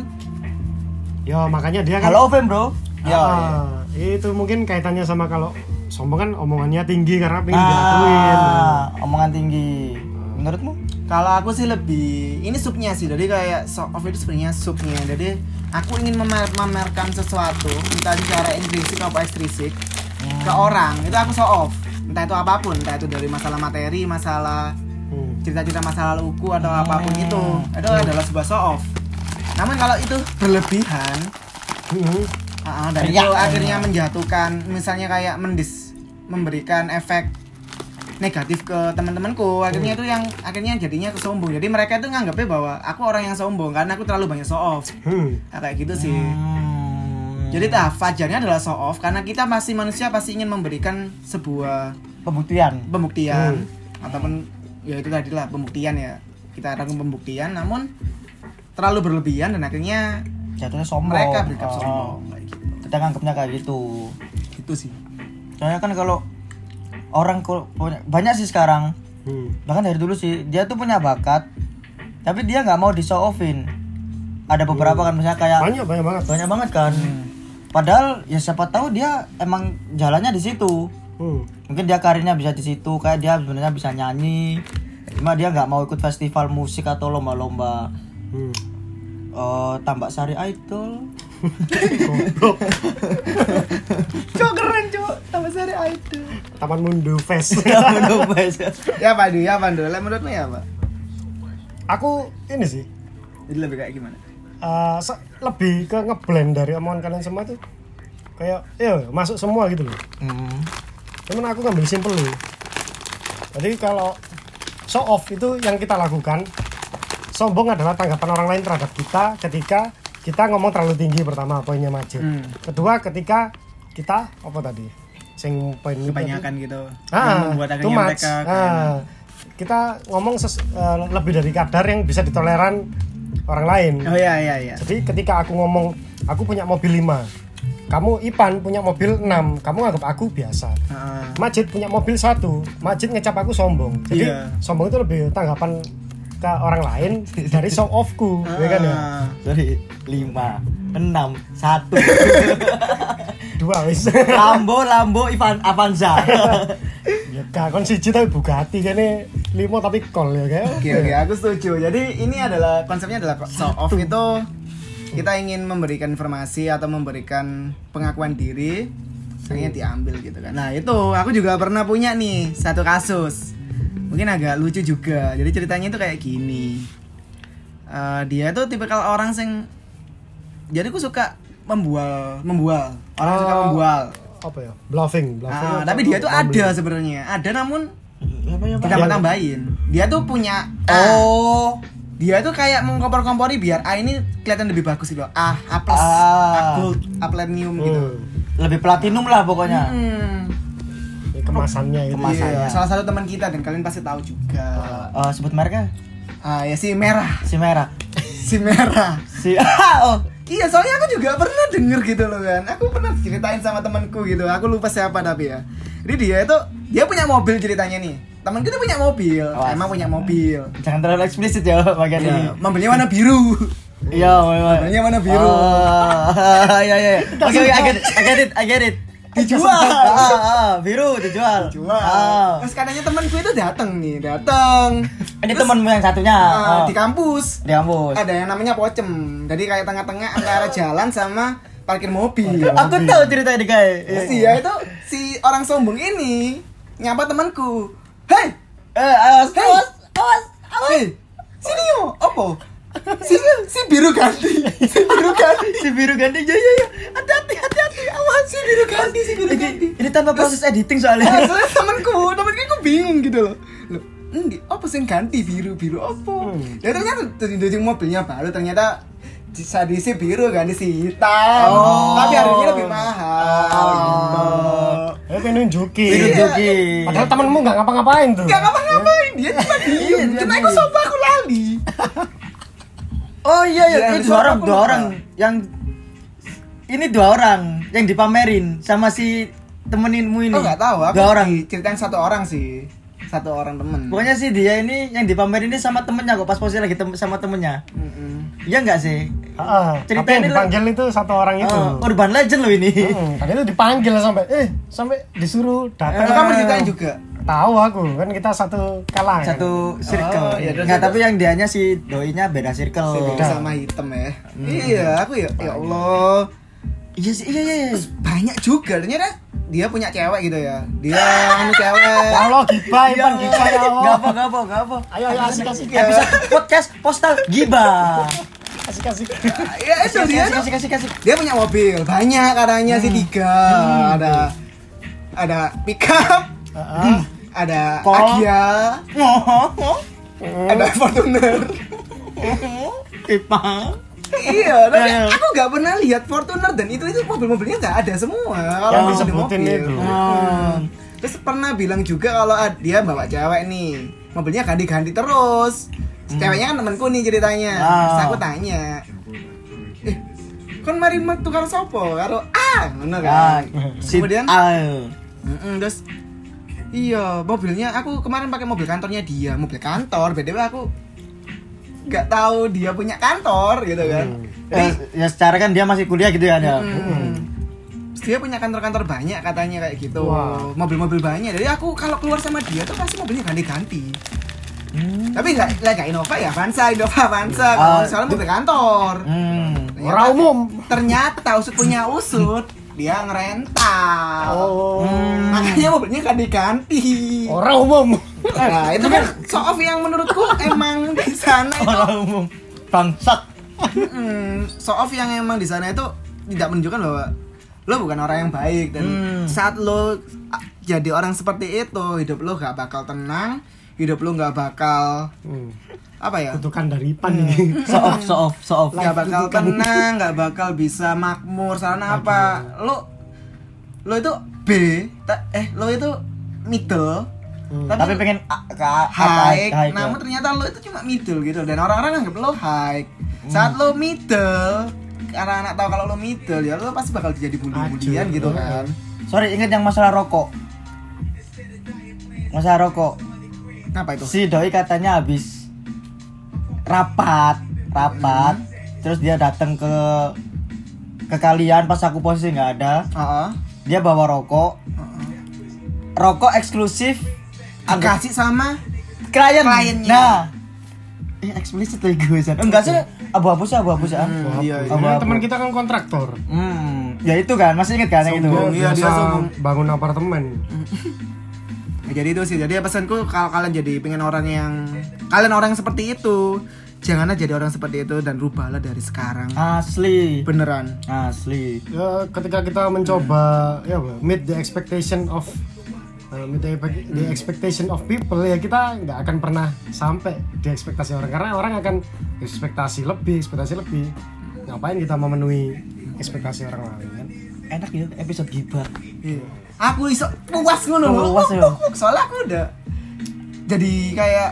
Speaker 1: Ya, makanya dia kan
Speaker 2: halo iya. fame bro
Speaker 3: Ya,
Speaker 1: Ah, itu mungkin kaitannya sama kalau sombong kan omongannya tinggi karena pengen diakuin.
Speaker 2: ah Nah, omongan tinggi menurutmu
Speaker 3: Kalau aku sih lebih ini subnya sih, jadi kayak soft off itu sebenarnya subnya. Jadi aku ingin memer- memamerkan sesuatu, entah itu cara intrinsik atau ekstrinsik ke orang. Itu aku show off. Entah itu apapun, entah itu dari masalah materi, masalah
Speaker 1: Hmm.
Speaker 3: cerita-cerita masa laluku atau apapun itu. Itu adalah sebuah show off. Namun kalau itu berlebihan,
Speaker 1: Mm-mm.
Speaker 3: ah, ah, dan
Speaker 2: Teriak.
Speaker 3: itu akhirnya menjatuhkan, misalnya kayak mendis memberikan efek negatif ke teman-temanku akhirnya itu yang akhirnya jadinya aku sombong jadi mereka itu nganggapnya bahwa aku orang yang sombong karena aku terlalu banyak show off
Speaker 1: Hmm.
Speaker 3: Nah, kayak gitu sih
Speaker 2: Hmm,
Speaker 3: Jadi tahap fajarnya adalah show off karena kita masih manusia pasti ingin memberikan sebuah
Speaker 2: pembuktian
Speaker 3: pembuktian ataupun ya itu tadi lah pembuktian ya kita rangkum pembuktian namun terlalu berlebihan dan akhirnya
Speaker 2: jatuhnya sombong
Speaker 3: mereka berikap
Speaker 2: Oh.
Speaker 3: sombong kayak gitu.
Speaker 2: kita nganggapnya kayak gitu
Speaker 3: Itu sih
Speaker 2: soalnya kan kalau orang kul- punya- banyak sih sekarang
Speaker 1: Hmm.
Speaker 2: bahkan dari dulu sih dia tuh punya bakat tapi dia nggak mau di show offin ada beberapa kan misalnya kayak
Speaker 1: Banyak banyak banget.
Speaker 2: banyak banget kan padahal ya siapa tahu dia emang jalannya di situ
Speaker 1: Hmm.
Speaker 2: mungkin dia karirnya bisa di situ kayak dia sebenarnya bisa nyanyi cuma dia nggak mau ikut festival musik atau lomba-lomba
Speaker 1: Hmm.
Speaker 2: eh tambak sari idol
Speaker 3: Cok keren cok tambah sari itu
Speaker 1: Taman Mundu Fest.
Speaker 3: Ya Pak Du, ya Pak Du, Lah, menurutmu ya Pak?
Speaker 1: aku ini sih
Speaker 3: Jadi lebih kayak gimana?
Speaker 1: eh, se- lebih ke ngeblend dari omongan kalian semua tuh. Kayak ya masuk semua gitu loh.
Speaker 2: Hmm.
Speaker 1: Cuman aku ngambil simpel loh. Jadi kalau show off itu yang kita lakukan, sombong adalah tanggapan orang lain terhadap kita ketika kita ngomong terlalu tinggi pertama poinnya maju.
Speaker 3: Hmm.
Speaker 1: Kedua ketika kita apa tadi? Sing poin
Speaker 3: Kebanyakan gitu Yang
Speaker 1: Ah,
Speaker 3: membuat
Speaker 1: too
Speaker 3: akhirnya
Speaker 1: much.
Speaker 3: mereka
Speaker 1: Ah, kita ngomong ses- eh, lebih dari kadar yang bisa ditoleran orang lain.
Speaker 3: Oh iya iya iya
Speaker 1: Jadi ketika aku ngomong aku punya mobil 5. Kamu Ipan punya mobil 6. Kamu anggap aku biasa.
Speaker 3: Ah, ah.
Speaker 1: Majid punya mobil satu, Majid ngecap aku sombong. Jadi
Speaker 3: Iya.
Speaker 1: sombong itu lebih tanggapan ke orang lain dari show offku, ya kan ya?
Speaker 3: Ah.
Speaker 2: Sorry, lima, enam, satu.
Speaker 1: Dua wis.
Speaker 2: Lambo, Lambo, Ivan, Avanza.
Speaker 1: ya gak kon siji tapi Bugatti kene limo tapi kol ya kayak.
Speaker 3: Oke oke aku setuju. Jadi ini adalah konsepnya adalah show off itu kita ingin memberikan informasi atau memberikan pengakuan diri akhirnya diambil gitu kan. Nah itu aku juga pernah punya nih satu kasus mungkin agak lucu juga. Jadi ceritanya itu kayak gini. Eh, dia tuh tipikal orang yang jadi aku suka membual membual orang suka
Speaker 1: Oh.
Speaker 3: membual.
Speaker 1: Apa ya? Bluffing, bluffing.
Speaker 3: Ah,
Speaker 1: apa?
Speaker 3: tapi dia tuh
Speaker 1: Gambling.
Speaker 3: ada sebenarnya ada namun
Speaker 2: Apa ya, Pak?
Speaker 3: kita tambahin. Dia tuh punya A.
Speaker 2: Oh,
Speaker 3: dia tuh kayak mengkompor-kompori biar A ini kelihatan lebih bagus gitu A, A plus, A
Speaker 2: Ah.
Speaker 3: gold, A platinum gitu
Speaker 1: Hmm.
Speaker 2: lebih platinum lah pokoknya.
Speaker 3: Hmm,
Speaker 1: Ya, kemasannya itu.
Speaker 2: Kemas- Kemasannya.
Speaker 3: iya. salah satu teman kita dan kalian pasti tahu juga
Speaker 2: Eh, sebut mereka
Speaker 3: Ah ya si merah,
Speaker 2: si merah.
Speaker 3: si merah
Speaker 2: Si oh,
Speaker 3: Iya soalnya aku juga pernah denger gitu loh kan Aku pernah ceritain sama temanku gitu Aku lupa siapa tapi ya Jadi dia itu, dia punya mobil ceritanya nih Temanku tuh punya mobil,
Speaker 2: Awas.
Speaker 3: emang punya mobil
Speaker 2: jangan terlalu eksplisit ya bagian ini.
Speaker 3: Ya, Mobilnya warna biru
Speaker 2: Iya, memang.
Speaker 3: Warnanya warna biru.
Speaker 2: Oh, iya iya. Oke, oke, I get it, I get it, I get it. Dijual. Ah, ah, biru dijual.
Speaker 3: Jual
Speaker 2: Ah.
Speaker 3: Terus katanya temanku itu datang nih, datang
Speaker 2: Ini temanmu yang satunya.
Speaker 3: Uh,
Speaker 2: Oh.
Speaker 3: di kampus
Speaker 2: Di kampus.
Speaker 3: ada yang namanya pocem jadi kayak tengah-tengah antara jalan sama parkir mobil
Speaker 2: Aku tahu cerita ini, guys.
Speaker 3: si ya itu si orang sombong ini nyapa temanku hei
Speaker 2: Eh, awas,
Speaker 3: Hei!
Speaker 2: awas, awas, awas.
Speaker 3: hei sini yo opo si si biru ganti si biru ganti
Speaker 2: Si biru ganti, ya ya ya. Hati-hati, hati-hati, awas.
Speaker 3: si biru ganti si biru ganti
Speaker 2: Ini, ini tanpa proses editing
Speaker 3: Eh,
Speaker 2: soalnya.
Speaker 3: soalnya temanku temanku aku bingung gitu loh Loh, endi apa sih yang ganti biru biru apa
Speaker 2: Hmm.
Speaker 3: ya ternyata dari dari mobilnya baru ternyata sadisi biru ganti si hitam
Speaker 2: Oh. iya.
Speaker 3: tapi harganya lebih mahal
Speaker 1: Ya kayak nunjukin.
Speaker 2: Ditunjukin.
Speaker 3: Iya.
Speaker 1: Padahal temanmu nggak ngapa-ngapain tuh.
Speaker 3: Gak ngapa-ngapain,
Speaker 2: Iya,
Speaker 3: dia cuma diem Cuma aku sopa, aku lali
Speaker 2: Oh iya iya,
Speaker 3: Iya,
Speaker 2: ini
Speaker 3: itu
Speaker 2: dua
Speaker 3: aku
Speaker 2: orang, dua
Speaker 3: lupa.
Speaker 2: orang yang ini dua orang yang dipamerin sama si temeninmu ini.
Speaker 3: Oh gak tahu, aku
Speaker 2: Dua orang.
Speaker 3: ceritain satu orang sih Satu orang temen
Speaker 2: Pokoknya sih dia ini yang dipamerin ini sama temennya kok pas posisi lagi tem- sama temennya.
Speaker 3: Mm-mm.
Speaker 2: Iya enggak sih?
Speaker 1: Heeh.
Speaker 2: Cerita
Speaker 1: Tapi yang
Speaker 2: ini
Speaker 1: dipanggil itu satu orang itu.
Speaker 2: Oh, iya. urban legend loh ini.
Speaker 1: Hmm, tadi itu dipanggil sampai eh sampai disuruh datang.
Speaker 3: Atau kamu ceritain juga?
Speaker 1: Tahu aku kan kita satu kalangan.
Speaker 2: Satu circle.
Speaker 3: iya, terus
Speaker 2: Enggak,
Speaker 3: ada-
Speaker 2: tapi yang dianya si doinya beda circle.
Speaker 3: Biru sama hitam ya
Speaker 2: Hmm.
Speaker 3: Iya, aku ya, ya Allah
Speaker 2: Iya sih, iya iya. iya.
Speaker 3: banyak juga ternyata dia punya cewek gitu ya dia anu cewek
Speaker 1: Ya Allah gibah,
Speaker 2: Iya.
Speaker 1: Ipan gibah ya
Speaker 2: Enggak
Speaker 1: Allah.
Speaker 2: apa, enggak apa, enggak apa.
Speaker 1: Ayo ayo asik asik ya.
Speaker 2: Episode podcast postal gibah.
Speaker 1: Asik asik.
Speaker 3: ya itu
Speaker 2: Kasih
Speaker 3: dia
Speaker 2: kasih
Speaker 3: tuh.
Speaker 2: kasih kasih. kasih.
Speaker 3: dia punya mobil banyak katanya sih tiga ada ada pickup
Speaker 1: Heeh.
Speaker 3: ada
Speaker 2: Kok?
Speaker 3: Agia
Speaker 2: Ngoh.
Speaker 3: ada Fortuner
Speaker 2: Ipang.
Speaker 3: iya, tapi
Speaker 2: Nah.
Speaker 3: aku nggak pernah lihat Fortuner dan itu itu mobil-mobilnya nggak ada semua. Kalau
Speaker 2: Oh,
Speaker 1: Yang
Speaker 3: beli
Speaker 1: disebutin
Speaker 3: mobil.
Speaker 1: itu.
Speaker 3: Hmm. Terus pernah bilang juga kalau ad- dia bawa cewek nih, mobilnya ganti-ganti terus. Ceweknya kan temanku nih ceritanya.
Speaker 2: Hmm. Ah.
Speaker 3: Terus aku tanya, eh, kan mari mak tukar sopo karo ah, ngono
Speaker 2: Ah,
Speaker 3: kan.
Speaker 2: sit
Speaker 3: Kemudian
Speaker 2: al.
Speaker 3: Mm-mm, terus iya mobilnya aku kemarin pakai mobil kantornya dia mobil kantor btw aku nggak tahu dia punya kantor gitu kan
Speaker 2: Eh,
Speaker 3: Jadi,
Speaker 2: ya secara kan dia masih kuliah gitu kan ya.
Speaker 3: mm, dia punya kantor-kantor banyak katanya kayak gitu
Speaker 1: Wah.
Speaker 3: mobil-mobil banyak jadi aku kalau keluar sama dia tuh pasti mobilnya ganti-ganti tapi nggak nggak nggak Innova ya Avanza Innova Avanza
Speaker 2: Ah,
Speaker 3: soalnya mobil kantor
Speaker 2: Hmm.
Speaker 3: Ternyata-
Speaker 1: Orang umum.
Speaker 3: ternyata usut punya usut dia ngerental Hmm.
Speaker 1: Oh.
Speaker 3: makanya mobilnya ganti-ganti
Speaker 1: Orang umum.
Speaker 3: Nah, itu kan show off yang menurutku emang di sana itu
Speaker 2: Orang umum bangsat.
Speaker 3: Mm, show off yang emang di sana itu tidak menunjukkan bahwa lo bukan orang yang baik dan
Speaker 2: Hmm.
Speaker 3: saat lo ah, jadi orang seperti itu hidup lo gak bakal tenang hidup lo gak bakal
Speaker 1: Hmm.
Speaker 3: apa ya
Speaker 1: Kutukan dari pan ini.
Speaker 2: So off, so off, so off.
Speaker 3: nggak bakal tenang nggak bakal bisa makmur sana apa lo lo itu B ta- eh lo itu middle
Speaker 2: Hmm. Tapi pengen a- ke a-
Speaker 3: high,
Speaker 2: high,
Speaker 3: namun
Speaker 2: ya.
Speaker 3: ternyata lo itu cuma middle gitu dan orang-orang nganggap lo high
Speaker 2: Hmm.
Speaker 3: saat lo middle karena anak tahu kalau lo middle ya lo pasti bakal jadi bully-bulian
Speaker 1: Aduh.
Speaker 3: gitu kan
Speaker 2: Sorry, ingat yang masalah rokok. Masalah rokok.
Speaker 3: kenapa itu
Speaker 2: Si doi katanya habis rapat, rapat. Terus dia datang ke ke kalian pas aku posisi nggak ada.
Speaker 3: Heeh.
Speaker 2: Dia bawa rokok. Rokok eksklusif
Speaker 3: dikasih sama
Speaker 2: klien.
Speaker 3: Kliennya.
Speaker 2: Nah. Ini eksplisit lagi Eh, ya gue San. Enggak sih, abu-abu sih, abu-abu sih. ah.
Speaker 3: Hmm, iya, iya.
Speaker 2: Abu-abu.
Speaker 1: Nah, teman kita kan kontraktor.
Speaker 2: Hmm, ya itu kan, masih inget kan yang itu?
Speaker 1: Dia
Speaker 3: iya, dia
Speaker 1: biasa
Speaker 3: sombong.
Speaker 1: bangun apartemen.
Speaker 3: Ya, jadi itu sih jadi pesanku kalau kalian jadi pengen orang yang kalian orang yang seperti itu janganlah jadi orang seperti itu dan rubahlah dari sekarang
Speaker 2: Asli,
Speaker 3: beneran
Speaker 2: asli.
Speaker 1: ya ketika kita mencoba ya apa, meet the expectation of uh, meet the, the expectation of people ya kita nggak akan pernah sampai di ekspektasi orang karena orang akan ekspektasi lebih ekspektasi lebih ngapain kita memenuhi ekspektasi orang lain kan
Speaker 2: Enak ya episode gibah.
Speaker 3: Iya. aku iso puas ngono loh.
Speaker 2: Puas ya.
Speaker 3: soalnya aku udah jadi kayak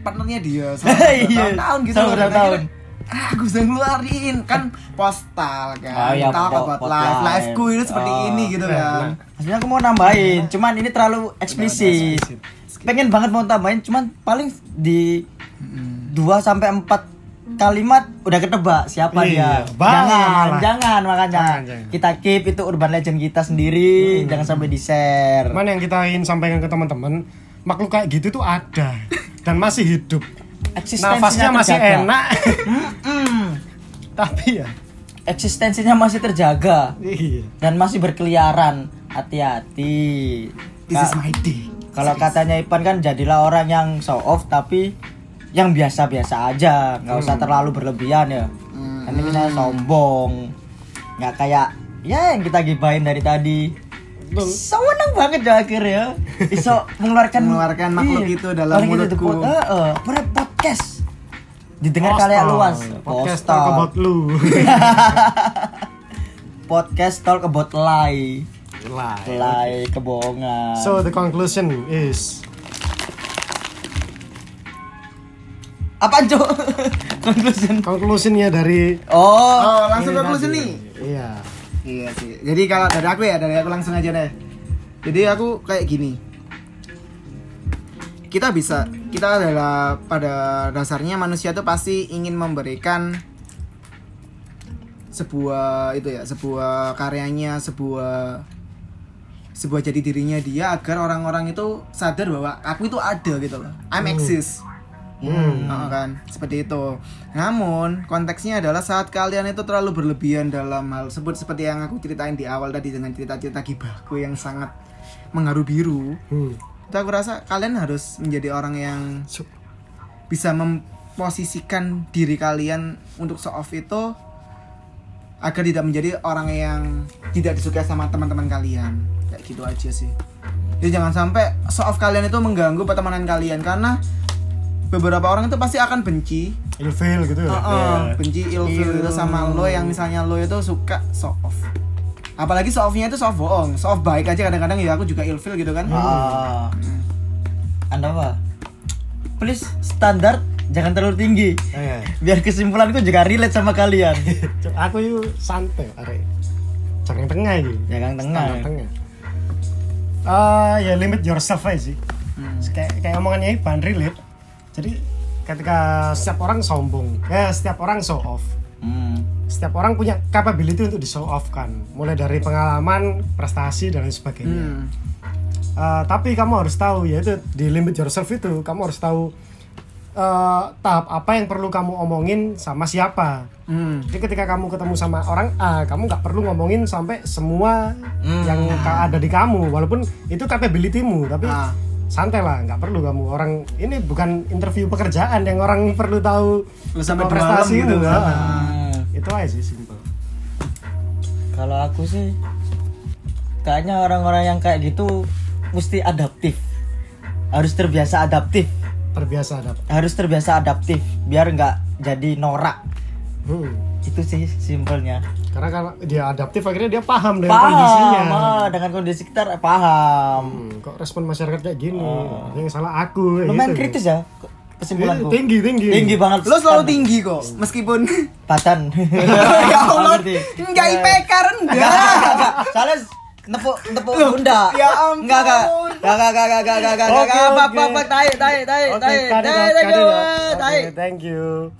Speaker 3: partnernya dia selama
Speaker 2: Iya.
Speaker 3: tahun gitu
Speaker 2: Selama
Speaker 3: loh. Dan
Speaker 2: bertahun-tahun.
Speaker 3: akhirnya, ah, aku bisa ngeluarin kan postal kan
Speaker 2: Oh, iya,
Speaker 3: talk
Speaker 2: po-
Speaker 3: about
Speaker 2: pot
Speaker 3: life
Speaker 2: life.
Speaker 3: life ku itu seperti
Speaker 2: Oh,
Speaker 3: ini gitu kan
Speaker 2: Sebenarnya aku mau nambahin, cuman ini terlalu eksplisit. Pengen banget mau tambahin, cuman paling di
Speaker 1: Hmm.
Speaker 2: 2 sampai 4 kalimat udah ketebak siapa
Speaker 1: Iya,
Speaker 2: dia.
Speaker 1: bahaya
Speaker 2: jangan,
Speaker 1: malah.
Speaker 2: jangan makanya.
Speaker 1: Jangan, jangan. Hmm.
Speaker 2: Kita keep itu urban legend kita sendiri, jangan sampai di-share.
Speaker 1: cuman yang kita ingin sampaikan ke teman-teman makhluk kayak gitu tuh ada dan masih hidup
Speaker 2: Eksistensinya
Speaker 1: nafasnya masih
Speaker 2: terjaga.
Speaker 1: enak
Speaker 2: Mm,
Speaker 1: tapi ya
Speaker 2: eksistensinya masih terjaga.
Speaker 1: iya.
Speaker 2: dan masih berkeliaran hati-hati
Speaker 3: this
Speaker 2: Ka-
Speaker 3: is my day
Speaker 2: kalau katanya Ipan kan jadilah orang yang show off tapi yang biasa-biasa aja nggak usah
Speaker 3: Hmm.
Speaker 2: terlalu berlebihan ya nanti kita sombong nggak kayak ya yang kita gibahin dari tadi so seneng banget ya akhirnya iso mengeluarkan
Speaker 3: Mengeluarkan makhluk
Speaker 2: Iya.
Speaker 3: itu dalam
Speaker 2: Orang itu
Speaker 3: mulutku.
Speaker 2: tuh, eh, eh, pernah podcast didengar kalian
Speaker 1: Postal.
Speaker 2: luas
Speaker 1: podcast talk about lu
Speaker 2: podcast talk about lie
Speaker 1: Lah.
Speaker 2: lie kebohongan
Speaker 1: so the conclusion is
Speaker 2: Apaan cok? Conclusion
Speaker 1: conclusionnya dari
Speaker 2: Oh
Speaker 3: oh langsung ke conclusion nih
Speaker 1: iya
Speaker 3: Iya sih. Jadi kalau dari aku ya, dari aku langsung aja deh. Jadi aku kayak gini. Kita bisa, kita adalah pada dasarnya manusia tuh pasti ingin memberikan sebuah itu ya, sebuah karyanya, sebuah sebuah jadi dirinya dia agar orang-orang itu sadar bahwa aku itu ada gitu loh. I'm exist. Nah, kan seperti itu. Namun konteksnya adalah saat kalian itu terlalu berlebihan dalam hal sebut seperti yang aku ceritain di awal tadi dengan cerita-cerita gibahku yang sangat mengaruh biru.
Speaker 1: Hmm.
Speaker 3: Itu aku rasa kalian harus menjadi orang yang bisa memposisikan diri kalian untuk show off itu agar tidak menjadi orang yang tidak disukai sama teman-teman kalian kayak gitu aja sih jadi jangan sampai show off kalian itu mengganggu pertemanan kalian karena beberapa orang itu pasti akan benci
Speaker 1: ilfil gitu ya
Speaker 3: Heeh,
Speaker 4: Iya.
Speaker 3: benci ilfil itu sama lo yang misalnya lo itu suka soft off apalagi soft offnya itu soft bohong soft baik aja kadang-kadang ya aku juga ilfil gitu kan
Speaker 4: Iya.
Speaker 2: Ah. Anda apa? Please standar jangan terlalu tinggi.
Speaker 1: Iya.
Speaker 2: Biar kesimpulanku juga relate sama kalian.
Speaker 1: Cuk, aku itu santai arek jangan tengah gitu
Speaker 2: Jangan
Speaker 1: Standar
Speaker 3: ya.
Speaker 2: Ya, tengah.
Speaker 1: tengah Ah, ya limit yourself aja sih
Speaker 3: Hmm.
Speaker 1: kayak kayak omongannya Iban relate jadi ketika setiap orang sombong ya setiap orang show off
Speaker 2: Hmm.
Speaker 1: setiap orang punya capability untuk di show off kan mulai dari pengalaman prestasi dan lain sebagainya
Speaker 3: Hmm.
Speaker 1: Uh, tapi kamu harus tahu yaitu di limit yourself itu kamu harus tahu uh, tahap apa yang perlu kamu omongin sama siapa.
Speaker 3: Hmm.
Speaker 1: Jadi ketika kamu ketemu sama orang A, kamu nggak perlu ngomongin sampai semua
Speaker 3: Hmm.
Speaker 1: yang ka- ada di kamu, walaupun itu capability-mu, tapi
Speaker 3: Ah.
Speaker 1: santai lah, nggak perlu kamu orang ini bukan interview pekerjaan yang orang perlu tahu
Speaker 3: Lu sampai
Speaker 1: semua
Speaker 3: di malam gitu kan.
Speaker 1: Ah.
Speaker 2: Ah.
Speaker 1: Itu aja sih simpel.
Speaker 2: Kalau aku sih kayaknya orang-orang yang kayak gitu mesti adaptif. Harus terbiasa adaptif.
Speaker 1: Terbiasa ada.
Speaker 2: Harus terbiasa adaptif biar nggak jadi norak.
Speaker 1: Hmm.
Speaker 2: Itu sih simpelnya.
Speaker 1: Karena kalau dia adaptif akhirnya dia paham dengan
Speaker 2: Paham,
Speaker 1: kondisinya.
Speaker 2: ah, dengan kondisi sekitar paham.
Speaker 1: Hmm, kok respon masyarakat kayak gini? Yang salah aku. kayak
Speaker 2: Lumayan
Speaker 1: gitu.
Speaker 2: kritis ya
Speaker 1: Eh,
Speaker 2: kesimpulanku.
Speaker 1: tinggi, tinggi.
Speaker 2: Tinggi banget.
Speaker 3: lo selalu tinggi kok meskipun
Speaker 2: Patan.
Speaker 3: ya Allah
Speaker 2: Ngerti.
Speaker 3: nggak IPK rendah
Speaker 2: Enggak, enggak, enggak. Soalnya nepuk nepuk pundak.
Speaker 3: ya ampun.
Speaker 2: Enggak, enggak. Enggak, enggak, enggak, enggak, enggak, enggak,
Speaker 1: Oke,
Speaker 2: enggak. Apa
Speaker 1: oke.
Speaker 2: apa apa tai tai tai
Speaker 1: Oke,
Speaker 2: tai
Speaker 1: cut it
Speaker 2: tai
Speaker 1: out,
Speaker 2: tai
Speaker 1: cut it out.
Speaker 2: tai.
Speaker 1: Oke, thank you.